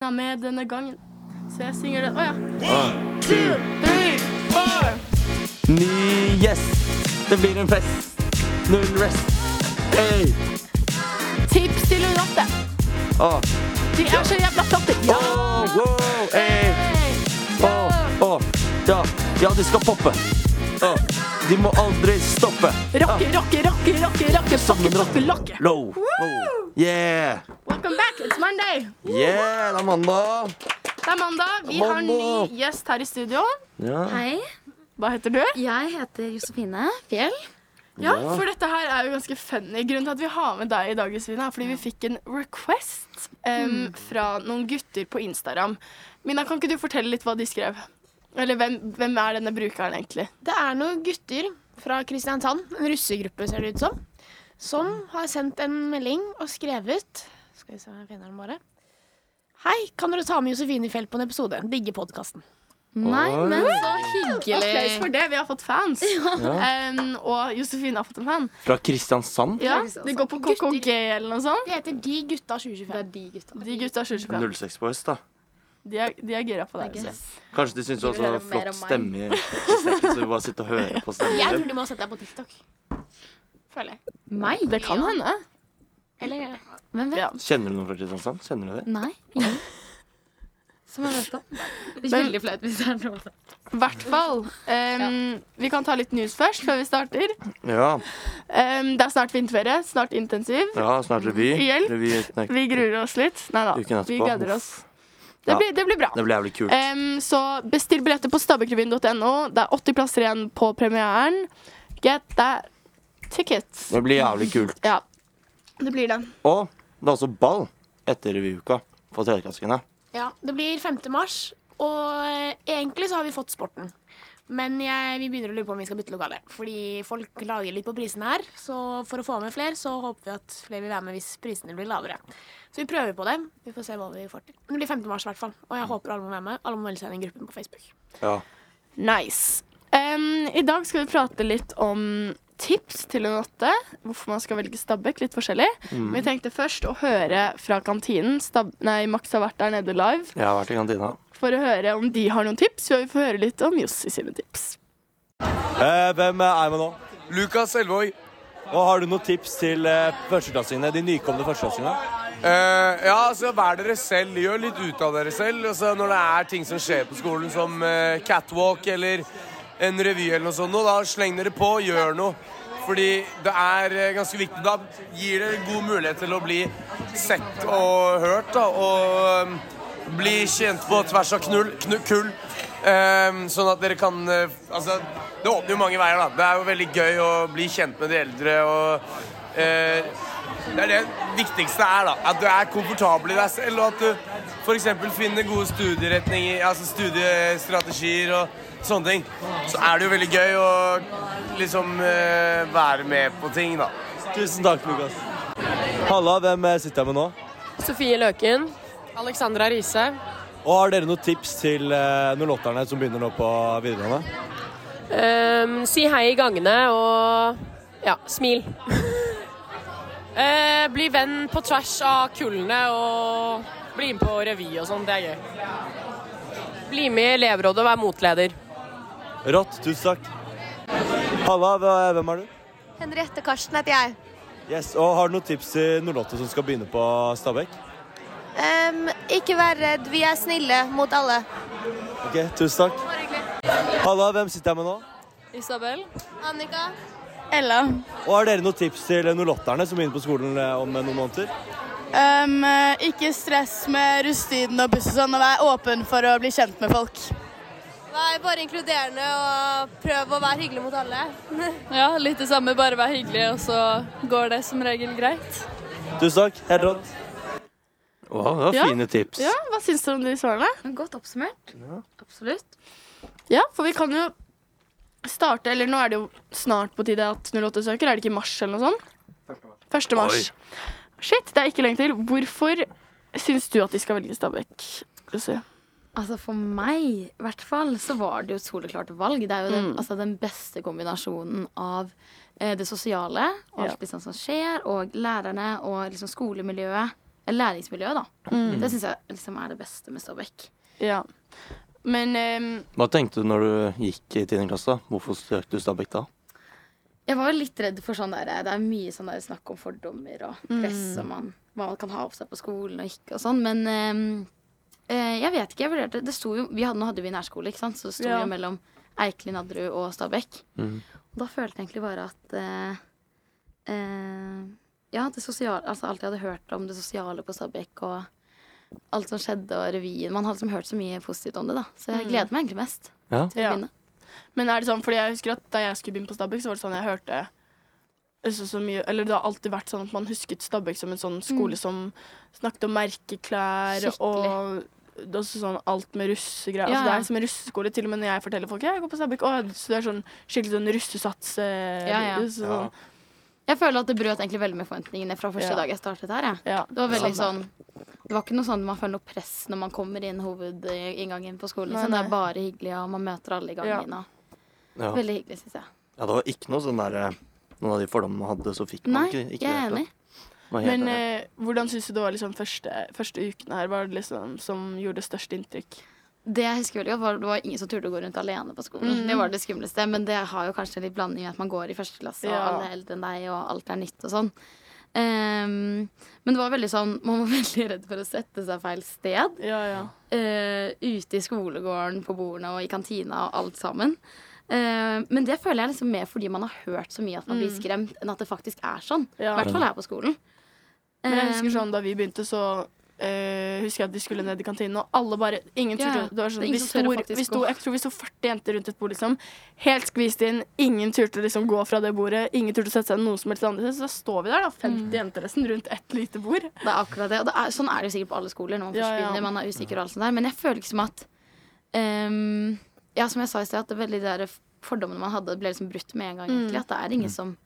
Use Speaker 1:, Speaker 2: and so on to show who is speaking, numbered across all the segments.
Speaker 1: var med denne gangen. Så jeg synger den. Å ja.
Speaker 2: Two,
Speaker 1: three, four.
Speaker 2: Ny gjest. Det blir en fest. Null rest. Hey.
Speaker 1: Tips til Lotte.
Speaker 2: Åh.
Speaker 1: De er så jævla flotte. Ja!
Speaker 2: Åh, wow. Hey. Åh, åh. Ja. ja, de skal poppe. Åh. De må aldri stoppe.
Speaker 1: Rocke, rocke, rocke, rocke, rocke,
Speaker 2: Som
Speaker 1: sokke,
Speaker 2: en rock.
Speaker 1: sokke, lokke.
Speaker 2: Low. Yeah.
Speaker 1: Welcome back, it's Monday.
Speaker 2: Yeah, det er mandag.
Speaker 1: Det er mandag. Vi har en ny
Speaker 2: Mandag.
Speaker 1: gjest her i studio.
Speaker 2: Ja.
Speaker 3: Hei,
Speaker 1: Hva heter du?
Speaker 3: jeg heter Josefine Fjell.
Speaker 1: Ja, for dette her er jo ganske funny. Grunnen til at vi har med deg i dag, Josefine, er fordi vi fikk en request
Speaker 4: Mm.
Speaker 1: em, fra noen gutter på Instagram. Mina, kan ikke du fortelle litt hva de skrev? Eller hvem, hvem er denne brukeren egentlig?
Speaker 4: Det er noen gutter fra Kristiansand, en russegruppe ser det ut som, som har sendt en melding og skrevet Skal vi se om jeg finner den bare. Hei, kan dere ta med Josefine Fjell på en episode? Digger podkasten.
Speaker 3: Nei,
Speaker 2: Oi.
Speaker 3: men så
Speaker 1: Applaus
Speaker 3: hyggelig.
Speaker 1: for det. Vi har fått fans. Em, og Josefine har fått en fan.
Speaker 2: Fra Kristiansand?
Speaker 1: Ja, Det går på KKG eller noe sånt.
Speaker 4: Det heter De gutta 2025.
Speaker 3: de gutta.
Speaker 1: De gutta skjuler seg.
Speaker 2: 06 Boys, da.
Speaker 1: De er, de er gira på deg.
Speaker 3: Det er
Speaker 1: altså.
Speaker 2: Kanskje de syns du
Speaker 3: De vil
Speaker 2: også har
Speaker 3: høre mer
Speaker 2: flott
Speaker 3: om meg.
Speaker 2: stemme. i- Så vi bare sitter og hører på stemmen.
Speaker 4: Jeg
Speaker 2: din.
Speaker 4: tror de må sette deg på TikTok. Føler jeg.
Speaker 3: Meg?
Speaker 1: Det kan hende.
Speaker 4: Eller
Speaker 3: Hvem vet?
Speaker 1: Ja.
Speaker 2: Kjenner du noen fra Kristiansand? Kjenner du det?
Speaker 3: Nei, ingen. Som jeg vet om. Det blir veldig flaut hvis det er noe sånt.
Speaker 1: I hvert fall. em, Vi kan ta litt news først, før vi starter.
Speaker 2: Ja.
Speaker 1: Em, det er snart vinterferie. Snart intensiv.
Speaker 2: ja snart revy.
Speaker 1: Hjelp.
Speaker 2: Revy nei,
Speaker 1: Vi gruer oss litt. Nei da.
Speaker 2: uken etterpå.
Speaker 1: Vi gleder oss.
Speaker 2: Uff,
Speaker 1: Det
Speaker 2: Ja.
Speaker 1: blir, det blir bra.
Speaker 2: Det blir jævlig kult.
Speaker 1: Em, så bestill billetter på stabbekrevyen.no. Det er 80 plasser igjen på premieren. Get that ticket.
Speaker 2: Det blir jævlig kult.
Speaker 1: Ja. Det blir det.
Speaker 2: Og det er også ball etter revyuka på Teleklaskene.
Speaker 4: Ja, det blir 5. mars, og eh, egentlig så har vi fått sporten. Men jeg, vi begynner å lure på om vi skal bytte lokale. Fordi folk lager litt på prisene her. Så for å få med flere, så håper vi at flere vil være med hvis prisene blir lavere. Så vi prøver på det. Vi får se hva vi får til. Men det blir 5. mars i hvert fall. Og jeg håper alle må være med. Alle må melde seg inn i gruppen på Facebook.
Speaker 2: Ja.
Speaker 1: Nice. Em, I dag skal vi prate litt om tips til en åtte. Hvorfor man skal velge Stabæk. Litt forskjellig. Vi tenkte først å høre fra kantinen. Stab nei, Max har vært der nede live.
Speaker 2: Jeg har vært i kantina.
Speaker 1: For å høre om de har noen tips. Så vi får høre litt om Jossi sine tips.
Speaker 2: Eh, hvem er med nå?
Speaker 5: Lukas Elvåg.
Speaker 2: Og Har du noen tips til eh, førsteklassingene? De nykomne førsteklassingene?
Speaker 5: Eh, ja, altså, vær dere selv. Gjør litt ut av dere selv. Altså, når det er ting som skjer på skolen, som eh, catwalk eller en revy eller noe sånt, nå, da sleng dere på, gjør noe. Fordi det er eh, ganske viktig. Da gir dere god mulighet til å bli sett og hørt, da. Og eh, bli kjent på tvers av knull, knu, kull. Eh, sånn at dere kan eh, Altså, det åpner jo mange veier, da. Det er jo veldig gøy å bli kjent med de eldre og eh, det er det viktigste er da, at du er komfortabel i deg selv, og at du f.eks. finner gode studieretninger, altså studiestrategier og sånne ting. Så er det jo veldig gøy å liksom eh, være med på ting, da.
Speaker 2: Tusen takk, Lukas. Halla, hvem sitter jeg med nå?
Speaker 6: Sofie Løken. Alexandra Riise.
Speaker 2: Og har dere noen tips til uh, nullåtterne som begynner nå på videregående?
Speaker 6: Ehm, si hei i gangene og ja, smil. Eh, bli venn på tvers av kullene og bli med på revy og sånn. Det er gøy. Bli med i elevrådet og vær motleder.
Speaker 2: Rått, tusen takk. Halla, hva- hvem er du?
Speaker 7: Henriette Karsten heter jeg.
Speaker 2: Yes, og Har du noen tips til 08 som skal begynne på Stabekk?
Speaker 7: Em, ikke vær redd, vi er snille mot alle.
Speaker 2: Ok, tusen takk. Halla, hvem sitter jeg med nå?
Speaker 6: Isabel.
Speaker 7: Annika?
Speaker 1: Ella.
Speaker 2: Og Har dere noen tips til 08-erne som begynner på skolen eh, om eh, noen måneder?
Speaker 1: eh, ikke stress med rusttiden og buss og sånn, og vær åpen for å bli kjent med folk.
Speaker 7: Vær bare inkluderende og prøv å være hyggelig mot alle.
Speaker 8: Ja, litt det samme, bare vær hyggelig, og så går det som regel greit.
Speaker 2: Tusen takk. Helt rått. det var
Speaker 1: Ja.
Speaker 2: fine tips.
Speaker 1: Ja, Hva syns du om de svarene?
Speaker 3: Godt oppsummert. Absolutt.
Speaker 1: Ja, for vi kan jo starte Eller nå er det jo snart på tide at 08 søker. Er det ikke i mars eller noe sånt? 1. mars. Shit, det er ikke lenge til. Hvorfor syns du at de skal velge Stabæk? José?
Speaker 3: Altså For meg i hvert fall så var det jo et soleklart valg. Det er jo den,
Speaker 1: Mm.
Speaker 3: altså, den beste kombinasjonen av eh, det sosiale, og
Speaker 1: Ja.
Speaker 3: alt liksom som skjer, og lærerne og liksom skolemiljøet. læringsmiljø, da.
Speaker 1: Mm.
Speaker 3: Det syns jeg liksom er det beste med Stabekk.
Speaker 1: Ja. Men ehm,
Speaker 2: Hva tenkte du når du gikk i 10. klasse? da? Hvorfor søkte du Stabæk da?
Speaker 3: Jeg var jo litt redd for sånn der, Det er mye sånn der snakk om fordommer og
Speaker 1: Mm.
Speaker 3: press og man, hva man kan ha på seg på skolen og ikke og sånn. Men ehm, eh, jeg vet ikke. Jeg vurderte det sto jo, vi hadde, Nå hadde vi nærskole, ikke sant? så det sto
Speaker 1: Ja.
Speaker 3: jo mellom Eikeli, Nadderud og Stabekk. Og da følte jeg egentlig bare at eh, eh, Ja, det sosiale, altså alt jeg hadde hørt om det sosiale på Stabekk og alt som skjedde og revyen Man har liksom hørt så mye positivt om det, da. Så jeg gleder meg egentlig mest.
Speaker 2: Ja.
Speaker 1: Mm.
Speaker 3: til å
Speaker 1: Ja.
Speaker 3: begynne.
Speaker 1: Men er det sånn, fordi jeg husker at da jeg skulle begynne på Stabæk, så var det sånn jeg hørte så, så mye, eller Det har alltid vært sånn at man husket Stabæk som en sånn skole som snakket om merkeklær
Speaker 3: Mm. Skikkelig.
Speaker 1: og det er også sånn alt med russegreier.
Speaker 3: Ja,
Speaker 1: Altså, det
Speaker 3: ja.
Speaker 1: er som en russeskole. Til og med når jeg forteller folk «Ja, jeg går på Stabæk, å, så det er sånn skikkelig sånn russesats. eh,
Speaker 3: Ja, ja.
Speaker 1: så- Sånn,
Speaker 3: Jeg føler at det brøt egentlig veldig med forventningene fra første
Speaker 1: Ja.
Speaker 3: dag jeg startet her. Jeg.
Speaker 1: ja.
Speaker 3: Det var veldig
Speaker 1: Samme.
Speaker 3: sånn Det var ikke noe sånn man føler noe press når man kommer inn hovedinngangen på skolen.
Speaker 1: Nei,
Speaker 3: Liksom. Det
Speaker 1: nei.
Speaker 3: er bare hyggelig, og man møter alle i
Speaker 1: Ja.
Speaker 3: gangen. og
Speaker 2: Ja.
Speaker 3: Veldig hyggelig, syns jeg.
Speaker 2: ja, det var ikke noe sånn derre Noen av de fordommene man hadde, så fikk man
Speaker 3: Nei,
Speaker 2: ikke, ikke
Speaker 3: jeg er
Speaker 2: det.
Speaker 3: enig.
Speaker 1: Men
Speaker 2: Men,
Speaker 1: eh, hvordan syns du det var liksom første, første ukene her? Hva er det liksom som gjorde størst inntrykk?
Speaker 3: Det jeg husker veldig godt var Det var ingen som turte å gå rundt alene på skolen.
Speaker 1: Mm.
Speaker 3: Det var det skumleste, men det har jo kanskje litt blanding i at man går i første klasse, og
Speaker 1: Ja.
Speaker 3: alle er eldre enn deg, og alt er nytt og sånn. Ehm, men det var veldig sånn man var veldig redd for å sette seg feil sted.
Speaker 1: Ja, ja.
Speaker 3: eh, ute i skolegården, på bordene og i kantina og alt sammen. Eh, men det føler jeg liksom mer fordi man har hørt så mye at man blir skremt, enn at det faktisk er sånn. I
Speaker 1: Mm. ja.
Speaker 3: hvert fall her på skolen.
Speaker 1: Men jeg husker
Speaker 3: Eh,
Speaker 1: sånn, Da vi begynte, så eh, husker jeg at vi skulle ned i kantinen, og alle bare Ingen
Speaker 3: Ja,
Speaker 1: turte.
Speaker 3: ja.
Speaker 1: Det var sånn,
Speaker 3: Det er ingen
Speaker 1: vi
Speaker 3: som tør å
Speaker 1: sto,
Speaker 3: faktisk
Speaker 1: vi sto,
Speaker 3: gå.
Speaker 1: jeg tror vi sto 40 jenter rundt et bord, liksom. Helt skvist inn. Ingen turte liksom gå fra det bordet. Ingen turte sette seg noe som helst andre sted. Så da står vi der, da. 50
Speaker 3: Mm.
Speaker 1: jenter nesten rundt ett lite bord.
Speaker 3: Det er akkurat det. Og det er, sånn er det jo sikkert på alle skoler når man
Speaker 1: sånn- Ja,
Speaker 3: først
Speaker 1: ja.
Speaker 3: begynner. Man er usikker og alt sånt der. Men jeg føler liksom at ehm, Ja, som jeg sa i sted, at det veldig de der fordommene man hadde, ble liksom brutt med en gang,
Speaker 1: Mm.
Speaker 3: egentlig. At det er ingen som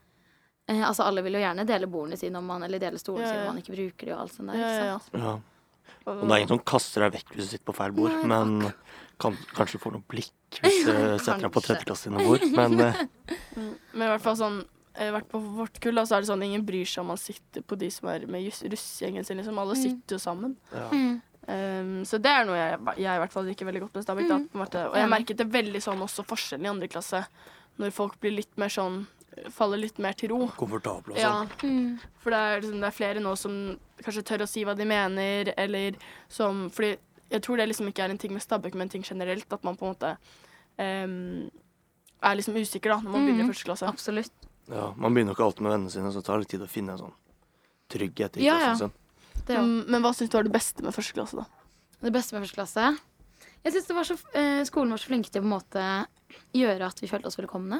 Speaker 3: eh, Altså, alle vil jo gjerne dele bordene sine om man Eller dele stolene
Speaker 1: Ja,
Speaker 3: sine
Speaker 1: ja.
Speaker 3: om man ikke bruker de og alt sånt der.
Speaker 1: Ja,
Speaker 3: Ikke
Speaker 1: ja,
Speaker 3: sant?
Speaker 1: ja.
Speaker 2: ja. Og det er ingen som kaster deg vekk hvis du sitter på feil bord,
Speaker 3: Nei,
Speaker 2: men kan, kanskje du får noen blikk hvis du setter deg på
Speaker 3: kanskje.
Speaker 2: tredjeklassens bord. Men eh,
Speaker 1: Men i hvert fall sånn eh, hvert på vårt kull, da, så er det sånn ingen bryr seg om man sitter på de som er med jus- russegjengen sin, liksom. Alle sitter jo sammen.
Speaker 2: Ja.
Speaker 1: Um, så det er noe jeg, jeg i hvert fall liker veldig godt med Stabæk. da, på en måte. Og jeg merket det veldig sånn også forskjellen i andre klasse, når folk blir litt mer sånn Faller litt mer til ro.
Speaker 2: komfortabel og
Speaker 1: Ja.
Speaker 2: sånn.
Speaker 1: For det er, liksom, det er flere nå som kanskje tør å si hva de mener, eller som Fordi jeg tror det liksom ikke er en ting med Stabæk, men en ting generelt, at man på en måte um, er liksom usikker da, når man begynner i første klasse.
Speaker 3: Absolutt.
Speaker 2: Ja, man begynner jo ikke alltid med vennene sine, så det tar litt tid å finne en sånn trygghet i
Speaker 3: Ja, ja.
Speaker 2: klassen sin.
Speaker 3: Det er jo
Speaker 1: Mm, Men hva syns du var det beste med første klasse, da?
Speaker 3: Det beste med første klasse Jeg synes det var så, eh, Skolen var så flinke til å på en måte gjøre at vi følte oss velkomne.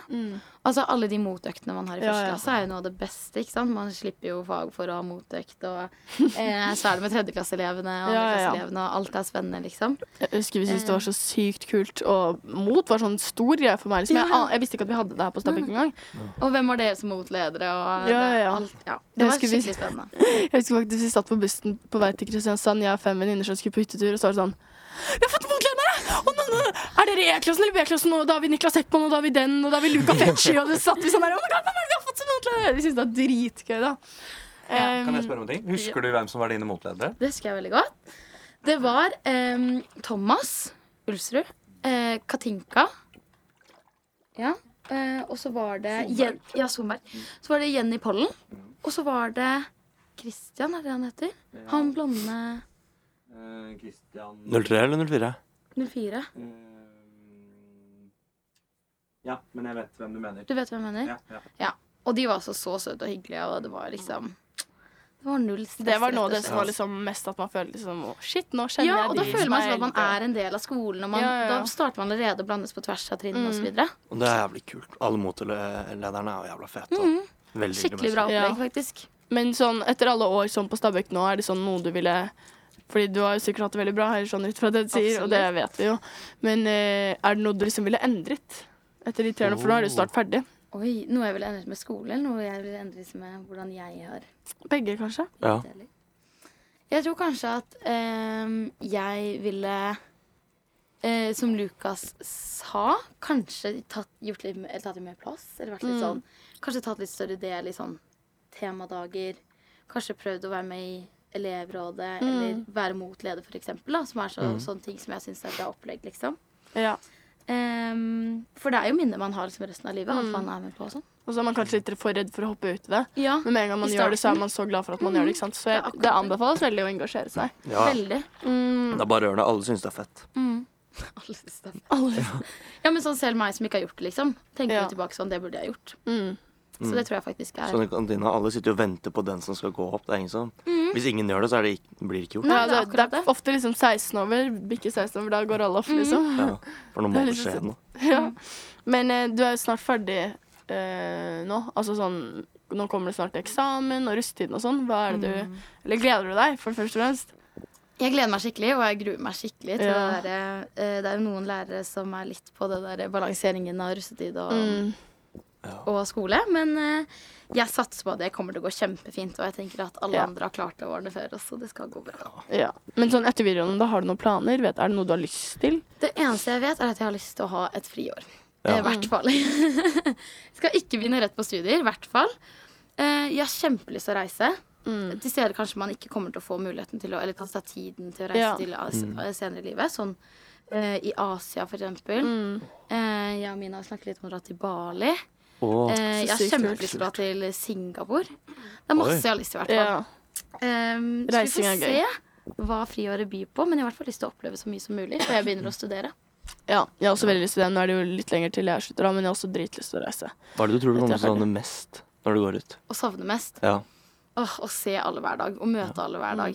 Speaker 3: Altså Alle de motøktene man har i
Speaker 1: Mm. Ja,
Speaker 3: første
Speaker 1: ja.
Speaker 3: klasse, er jo noe av det beste. ikke sant? Man slipper jo fag for å ha motøkt, og eh, så er det med tredjeklasseelevene
Speaker 1: Ja, ja,
Speaker 3: og
Speaker 1: ja.
Speaker 3: andreklasseelevene, og alt er spennende, liksom.
Speaker 1: Jeg husker vi syntes det var så sykt kult, og mot var sånn stor greie for meg. Liksom. Jeg, an- jeg visste ikke at vi hadde det her på Stabæk engang.
Speaker 3: Og hvem var dere som motledere?
Speaker 1: Ja,
Speaker 3: Og
Speaker 1: ja, ja.
Speaker 3: Det, alt, ja.
Speaker 1: Jeg
Speaker 3: det var
Speaker 1: husker vi-
Speaker 3: skikkelig spennende.
Speaker 1: Jeg husker faktisk Vi satt på bussen på vei til Kristiansand, jeg og fem venninner som skulle på hyttetur, og så var det sånn Vi har fått motledere! Og nå, nå, er dere i E-klassen eller B-klassen? Og da har vi Niklas Heckmann, og da har vi den, og da har vi Luca Fecci, og det satt vi sånn der. Oh my God, hvem er det vi har fått som motledere? Vi syntes det var dritgøy, da.
Speaker 9: Kan jeg
Speaker 1: Um,
Speaker 9: spørre om en ting? Husker du hvem som var dine motledere?
Speaker 3: Det husker jeg veldig godt. Det var eh, Thomas Ulsrud, eh, Katinka Ja. Eh, og så var det Jen ja, Solberg. Så var det Jenny Pollen. Og så var det Christian, er det han heter? Han blonde
Speaker 9: Eh, Kristian
Speaker 2: 03 eller 04?
Speaker 3: 04.
Speaker 9: eh, Ja, men jeg vet hvem du mener.
Speaker 3: Du vet hvem jeg mener? Og de var altså så søte og hyggelige, og det var liksom Det var null stress.
Speaker 1: det var
Speaker 3: rett
Speaker 1: nå
Speaker 3: og
Speaker 1: det
Speaker 3: slett.
Speaker 1: som var liksom mest at man føler liksom «Å, Shit, nå kjenner
Speaker 3: ja,
Speaker 1: jeg
Speaker 3: og
Speaker 1: de
Speaker 3: da føler man
Speaker 1: som
Speaker 3: som at man
Speaker 1: eldre».
Speaker 3: er en del av skolen. Og man,
Speaker 1: Ja, ja, ja.
Speaker 3: da starter man allerede å blandes på tvers av trinnene
Speaker 1: Mm.
Speaker 3: og så videre
Speaker 2: Og det er jævlig kult. Alle motlederne er jo jævla fete. da. Veldig hyggelig
Speaker 3: Mhm. Skikkelig
Speaker 2: mennesker.
Speaker 3: bra
Speaker 1: Ja.
Speaker 3: opplegg, faktisk.
Speaker 1: Men sånn, etter alle år sånn på Stabæk nå, er det sånn noe du ville Fordi du har jo sikkert hatt det veldig bra, her, sånn ut fra det du sier, og det vet vi jo. Men eh, er det noe du liksom ville endret etter de tre årene? For nå er du snart ferdig.
Speaker 3: Oi, Noe jeg ville endret med skole, eller noe jeg ville endret med hvordan jeg har
Speaker 1: Begge, kanskje.
Speaker 2: Ja.
Speaker 3: deler? Jeg tror kanskje at ehm, jeg ville eh, som Lukas sa, kanskje tatt, gjort litt, eller tatt litt mer plass. Eller vært litt
Speaker 1: Mm.
Speaker 3: sånn, kanskje tatt litt større del i sånn temadager. Kanskje prøvd å være med i elevrådet
Speaker 1: Mm.
Speaker 3: eller være motleder, f.eks., som er så,
Speaker 2: Mm.
Speaker 3: sånne ting som jeg syns er bra opplegg, liksom.
Speaker 1: Ja.
Speaker 3: Ehm, for det er jo minner man har liksom resten av livet.
Speaker 1: Mm.
Speaker 3: Alt man er med på og sånn.
Speaker 1: Og så er man kanskje litt for redd for å hoppe ut i det.
Speaker 3: Ja,
Speaker 1: Men med en gang man
Speaker 3: I
Speaker 1: gjør det, så
Speaker 3: starten.
Speaker 1: er man så glad for at man gjør det. ikke sant? Så jeg,
Speaker 3: Det er akkurat
Speaker 1: det anbefales veldig å engasjere seg.
Speaker 2: Ja.
Speaker 3: veldig.
Speaker 1: Mm,
Speaker 2: Det er bare ørene. Alle syns det er fett.
Speaker 3: Alle synes det. Ja, men sånn selv meg som ikke har gjort det, liksom. Tenker
Speaker 1: Ja.
Speaker 3: jo tilbake sånn, det burde jeg gjort.
Speaker 1: mm.
Speaker 3: Så det tror jeg faktisk er
Speaker 2: Sånn i kantina, Alle sitter jo og venter på den som skal gå opp. Det er ingen som. Hvis ingen gjør det, så er det ikke, blir det ikke gjort.
Speaker 1: Ja,
Speaker 3: Nei, det
Speaker 1: det,
Speaker 3: er
Speaker 1: det
Speaker 3: akkurat det. Mhm.
Speaker 1: er ofte liksom 16 over, bikker 16 over, da går alle opp, liksom.
Speaker 2: Ja, for nå må
Speaker 1: Det er
Speaker 2: det
Speaker 1: liksom
Speaker 2: skje
Speaker 1: sånn-
Speaker 2: noe.
Speaker 1: Ja. Men eh, du er jo snart ferdig eh, nå. Altså sånn Nå kommer det snart eksamen og russetiden og sånn. Hva er det
Speaker 3: Mm.
Speaker 1: du Eller gleder du deg, for først og fremst?
Speaker 3: Jeg gleder meg skikkelig, og jeg gruer meg skikkelig til
Speaker 1: Ja.
Speaker 3: det derre eh, Det er jo noen lærere som er litt på det der balanseringen av russetid og,
Speaker 1: Mm.
Speaker 3: og skole, men eh, jeg satser på at det kommer til å gå kjempefint, og jeg tenker at alle
Speaker 1: Ja.
Speaker 3: andre har klart det årene før også, det skal gå bra.
Speaker 1: Ja. Men sånn etter videregående, da har du noen planer? Vet, er det noe du har lyst til?
Speaker 3: Det eneste jeg vet, er at jeg har lyst til å ha et friår. I
Speaker 2: Ja.
Speaker 3: hvert fall. skal ikke begynne rett på studier, i hvert fall. Eh, jeg har kjempelyst til å reise.
Speaker 1: Mm.
Speaker 3: Til steder kanskje man ikke kommer til å få muligheten til å Eller kan ta tiden til å reise
Speaker 1: Ja. Mm.
Speaker 3: til As- senere i livet. Sånn eh, i Asia, for eksempel.
Speaker 1: Mm.
Speaker 3: Eh, jeg og Mina har snakket litt om å dra til Bali.
Speaker 2: Åh,
Speaker 3: Eh, jeg har
Speaker 1: sykt kult.
Speaker 3: kjempelyst til å dra til Singapore. Det er masse
Speaker 2: Oi.
Speaker 3: jeg har lyst til, i hvert fall.
Speaker 1: Ja.
Speaker 3: Ehm,
Speaker 1: Reising
Speaker 3: så
Speaker 1: er
Speaker 3: vi får se hva friåret byr på, men jeg har i hvert fall lyst til å oppleve så mye som mulig før jeg begynner å studere.
Speaker 1: ja. Jeg har også veldig lyst til det. Nå er det jo litt lenger til jeg slutter, da, men jeg har også dritlyst til å reise.
Speaker 2: Hva er det du tror du
Speaker 1: Vet
Speaker 2: kommer
Speaker 1: jeg
Speaker 2: til å savne mest når du går ut?
Speaker 3: Og savne mest.
Speaker 2: Ja.
Speaker 3: Åh, Å se alle hver dag, og møte alle hver
Speaker 2: Mm.
Speaker 3: dag.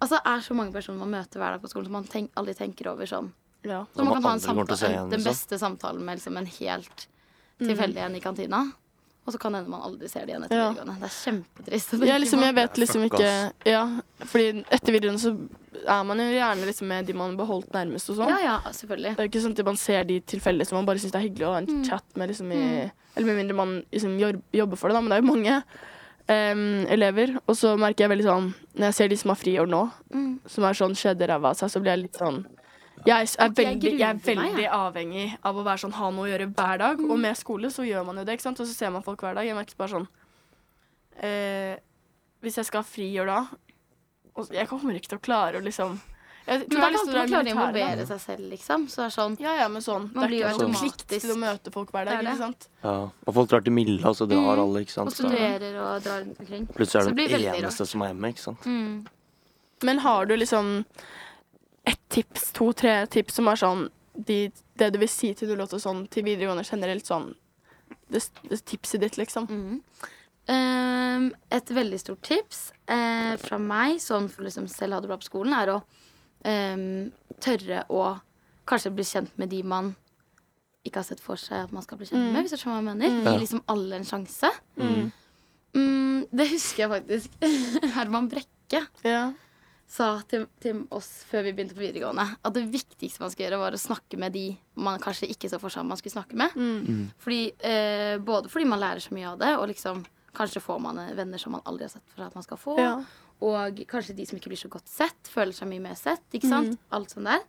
Speaker 3: Altså, Det er så mange personer man møter hver dag på skolen som man tenk, aldri tenker over sånn.
Speaker 1: Ja.
Speaker 3: Så man
Speaker 2: man
Speaker 3: kan ha en
Speaker 2: aldri kommer til å
Speaker 3: samtale,
Speaker 2: se igjen,
Speaker 3: den
Speaker 2: liksom.
Speaker 3: beste samtalen med liksom en helt
Speaker 1: Mm.
Speaker 3: tilfeldig en i kantina. Og så kan det hende man aldri ser det igjen etter
Speaker 1: Ja.
Speaker 3: videregående. Det er kjempetrist. å
Speaker 1: Ja,
Speaker 3: tenke
Speaker 1: liksom,
Speaker 3: på.
Speaker 1: jeg vet liksom
Speaker 2: Fuck,
Speaker 1: ikke Ja, fordi etter videoen så er man jo gjerne liksom med de man har beholdt nærmest og sånn.
Speaker 3: ja, ja, selvfølgelig.
Speaker 1: Det er jo ikke sånn at man ser de tilfeldig som man bare syns det er hyggelig å ha en
Speaker 3: Mm.
Speaker 1: chat med, liksom i Eller med mindre man liksom jor- jobber for det, da, men det er jo mange em, elever. Og så merker jeg veldig sånn Når jeg ser de som har friår nå,
Speaker 3: Mm.
Speaker 1: som er sånn skjedde ræva av seg, så blir jeg litt sånn jeg er, veldig, jeg er
Speaker 3: gruer meg, Mm.
Speaker 1: veldig avhengig av å være sånn, ha noe å gjøre hver dag. Og med skole så gjør man jo det, ikke sant? og så ser man folk hver dag. Jeg merker bare sånn eh, Hvis jeg skal ha friår da og Jeg kommer ikke til å klare å liksom jeg
Speaker 3: Men
Speaker 1: tror
Speaker 3: det
Speaker 1: jeg
Speaker 3: er
Speaker 1: har
Speaker 3: ikke
Speaker 1: lyst til
Speaker 3: alltid
Speaker 1: å
Speaker 3: man
Speaker 1: dra i
Speaker 3: klarer å
Speaker 1: militæret, da.
Speaker 3: involvere seg selv, liksom. Så det er sånn
Speaker 1: Ja, ja, men sånn.
Speaker 3: Man blir jo
Speaker 1: ikke noe
Speaker 3: automatisk-
Speaker 1: plikt til å møte folk hver
Speaker 3: Det
Speaker 1: dag.
Speaker 3: er det.
Speaker 1: ikke sant?
Speaker 2: Ja. Og folk drar til Milla, så drar alle, ikke
Speaker 3: Og
Speaker 2: sant. Så er det-
Speaker 3: studerer og drar rundt omkring.
Speaker 2: Plutselig
Speaker 3: Så
Speaker 2: er
Speaker 3: det
Speaker 2: du
Speaker 3: blir
Speaker 2: den
Speaker 3: veldig
Speaker 2: eneste som er hjemme, ikke sant.
Speaker 1: Men har du liksom ett tips, to, tre tips som er sånn de, Det du vil si til du låter sånn til videregående generelt, sånn det, det tipset ditt, liksom?
Speaker 3: Mm. Ehm, et veldig stort tips eh, fra meg, sånn for å liksom selv ha det bra på skolen, er å ehm, tørre å kanskje bli kjent med de man ikke har sett for seg at man skal bli kjent med. Hvis du skjønner hva jeg mener. Gi
Speaker 2: Ja.
Speaker 3: liksom alle en sjanse. Mm, det husker jeg faktisk. Herman Brekke
Speaker 1: Ja.
Speaker 3: sa til, til oss før vi begynte på videregående, at det viktigste man skulle gjøre, var å snakke med de man kanskje ikke så for seg at man skulle snakke med. Fordi, eh, både fordi man lærer så mye av det, og liksom kanskje får man eh, venner som man aldri har sett for seg at man skal få.
Speaker 1: Ja.
Speaker 3: Og kanskje de som ikke blir så godt sett, føler seg mye mer sett. Ikke
Speaker 1: Mhm.
Speaker 3: sant? Alt sånt der.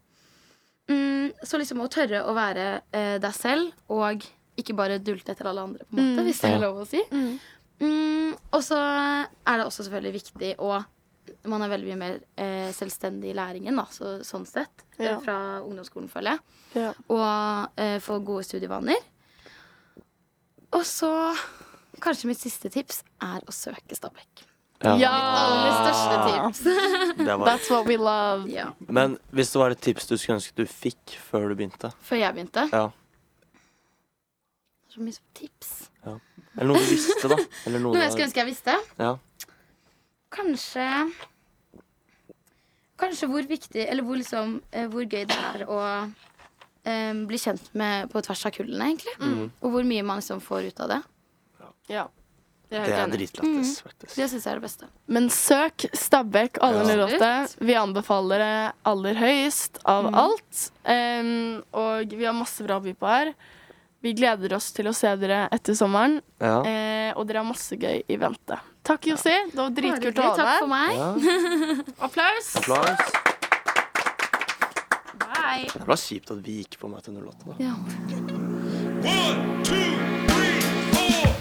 Speaker 3: Mm, så liksom å tørre å være eh, deg selv, og ikke bare dulte etter alle andre, på en måte, hvis det er
Speaker 2: Ja.
Speaker 3: lov å si. Mm, og så er det også selvfølgelig viktig å man er veldig mye mer eh, selvstendig i læringen, da, så, sånn sett.
Speaker 1: Ja.
Speaker 3: Fra ungdomsskolen, føler jeg
Speaker 1: ja.
Speaker 3: og eh, få gode studievaner. Og så Kanskje mitt siste tips er å søke Stabekk.
Speaker 1: Ah.
Speaker 3: Aller største tips.
Speaker 2: Det var.
Speaker 1: That's what we love.
Speaker 3: Ja,
Speaker 2: Men hvis det var et tips du skulle ønske du fikk før du begynte,
Speaker 3: før jeg begynte.
Speaker 2: Ja.
Speaker 3: Så mye tips.
Speaker 2: eller noe du visste, da Eller noe
Speaker 3: Noe jeg
Speaker 2: du-
Speaker 3: skulle ønske jeg visste?
Speaker 2: Ja.
Speaker 3: Kanskje Kanskje hvor viktig Eller hvor, liksom, eh, hvor gøy det er å eh, bli kjent med på tvers av kullene, egentlig. Og hvor mye man liksom får ut av det.
Speaker 1: Ja. Jeg
Speaker 2: Det
Speaker 1: helt
Speaker 2: er
Speaker 1: enig.
Speaker 2: dritlættis, faktisk.
Speaker 3: Det syns jeg er det beste.
Speaker 1: Men søk Stabæk alle
Speaker 2: Ja.
Speaker 1: 08. Vi anbefaler det aller høyest
Speaker 3: Mm.
Speaker 1: av alt. Em, og vi har masse bra å by på her. Vi gleder oss til å se dere etter sommeren.
Speaker 2: Ja.
Speaker 1: Eh, og dere har masse gøy i vente. Takk, Jossi. Det var dritkult å
Speaker 3: Takk
Speaker 1: ha
Speaker 3: for
Speaker 1: deg.
Speaker 3: meg.
Speaker 2: Ja.
Speaker 1: Applaus.
Speaker 2: Applaus. Det var kjipt at vi gikk på meg til 08, da.
Speaker 5: One, two, three, four.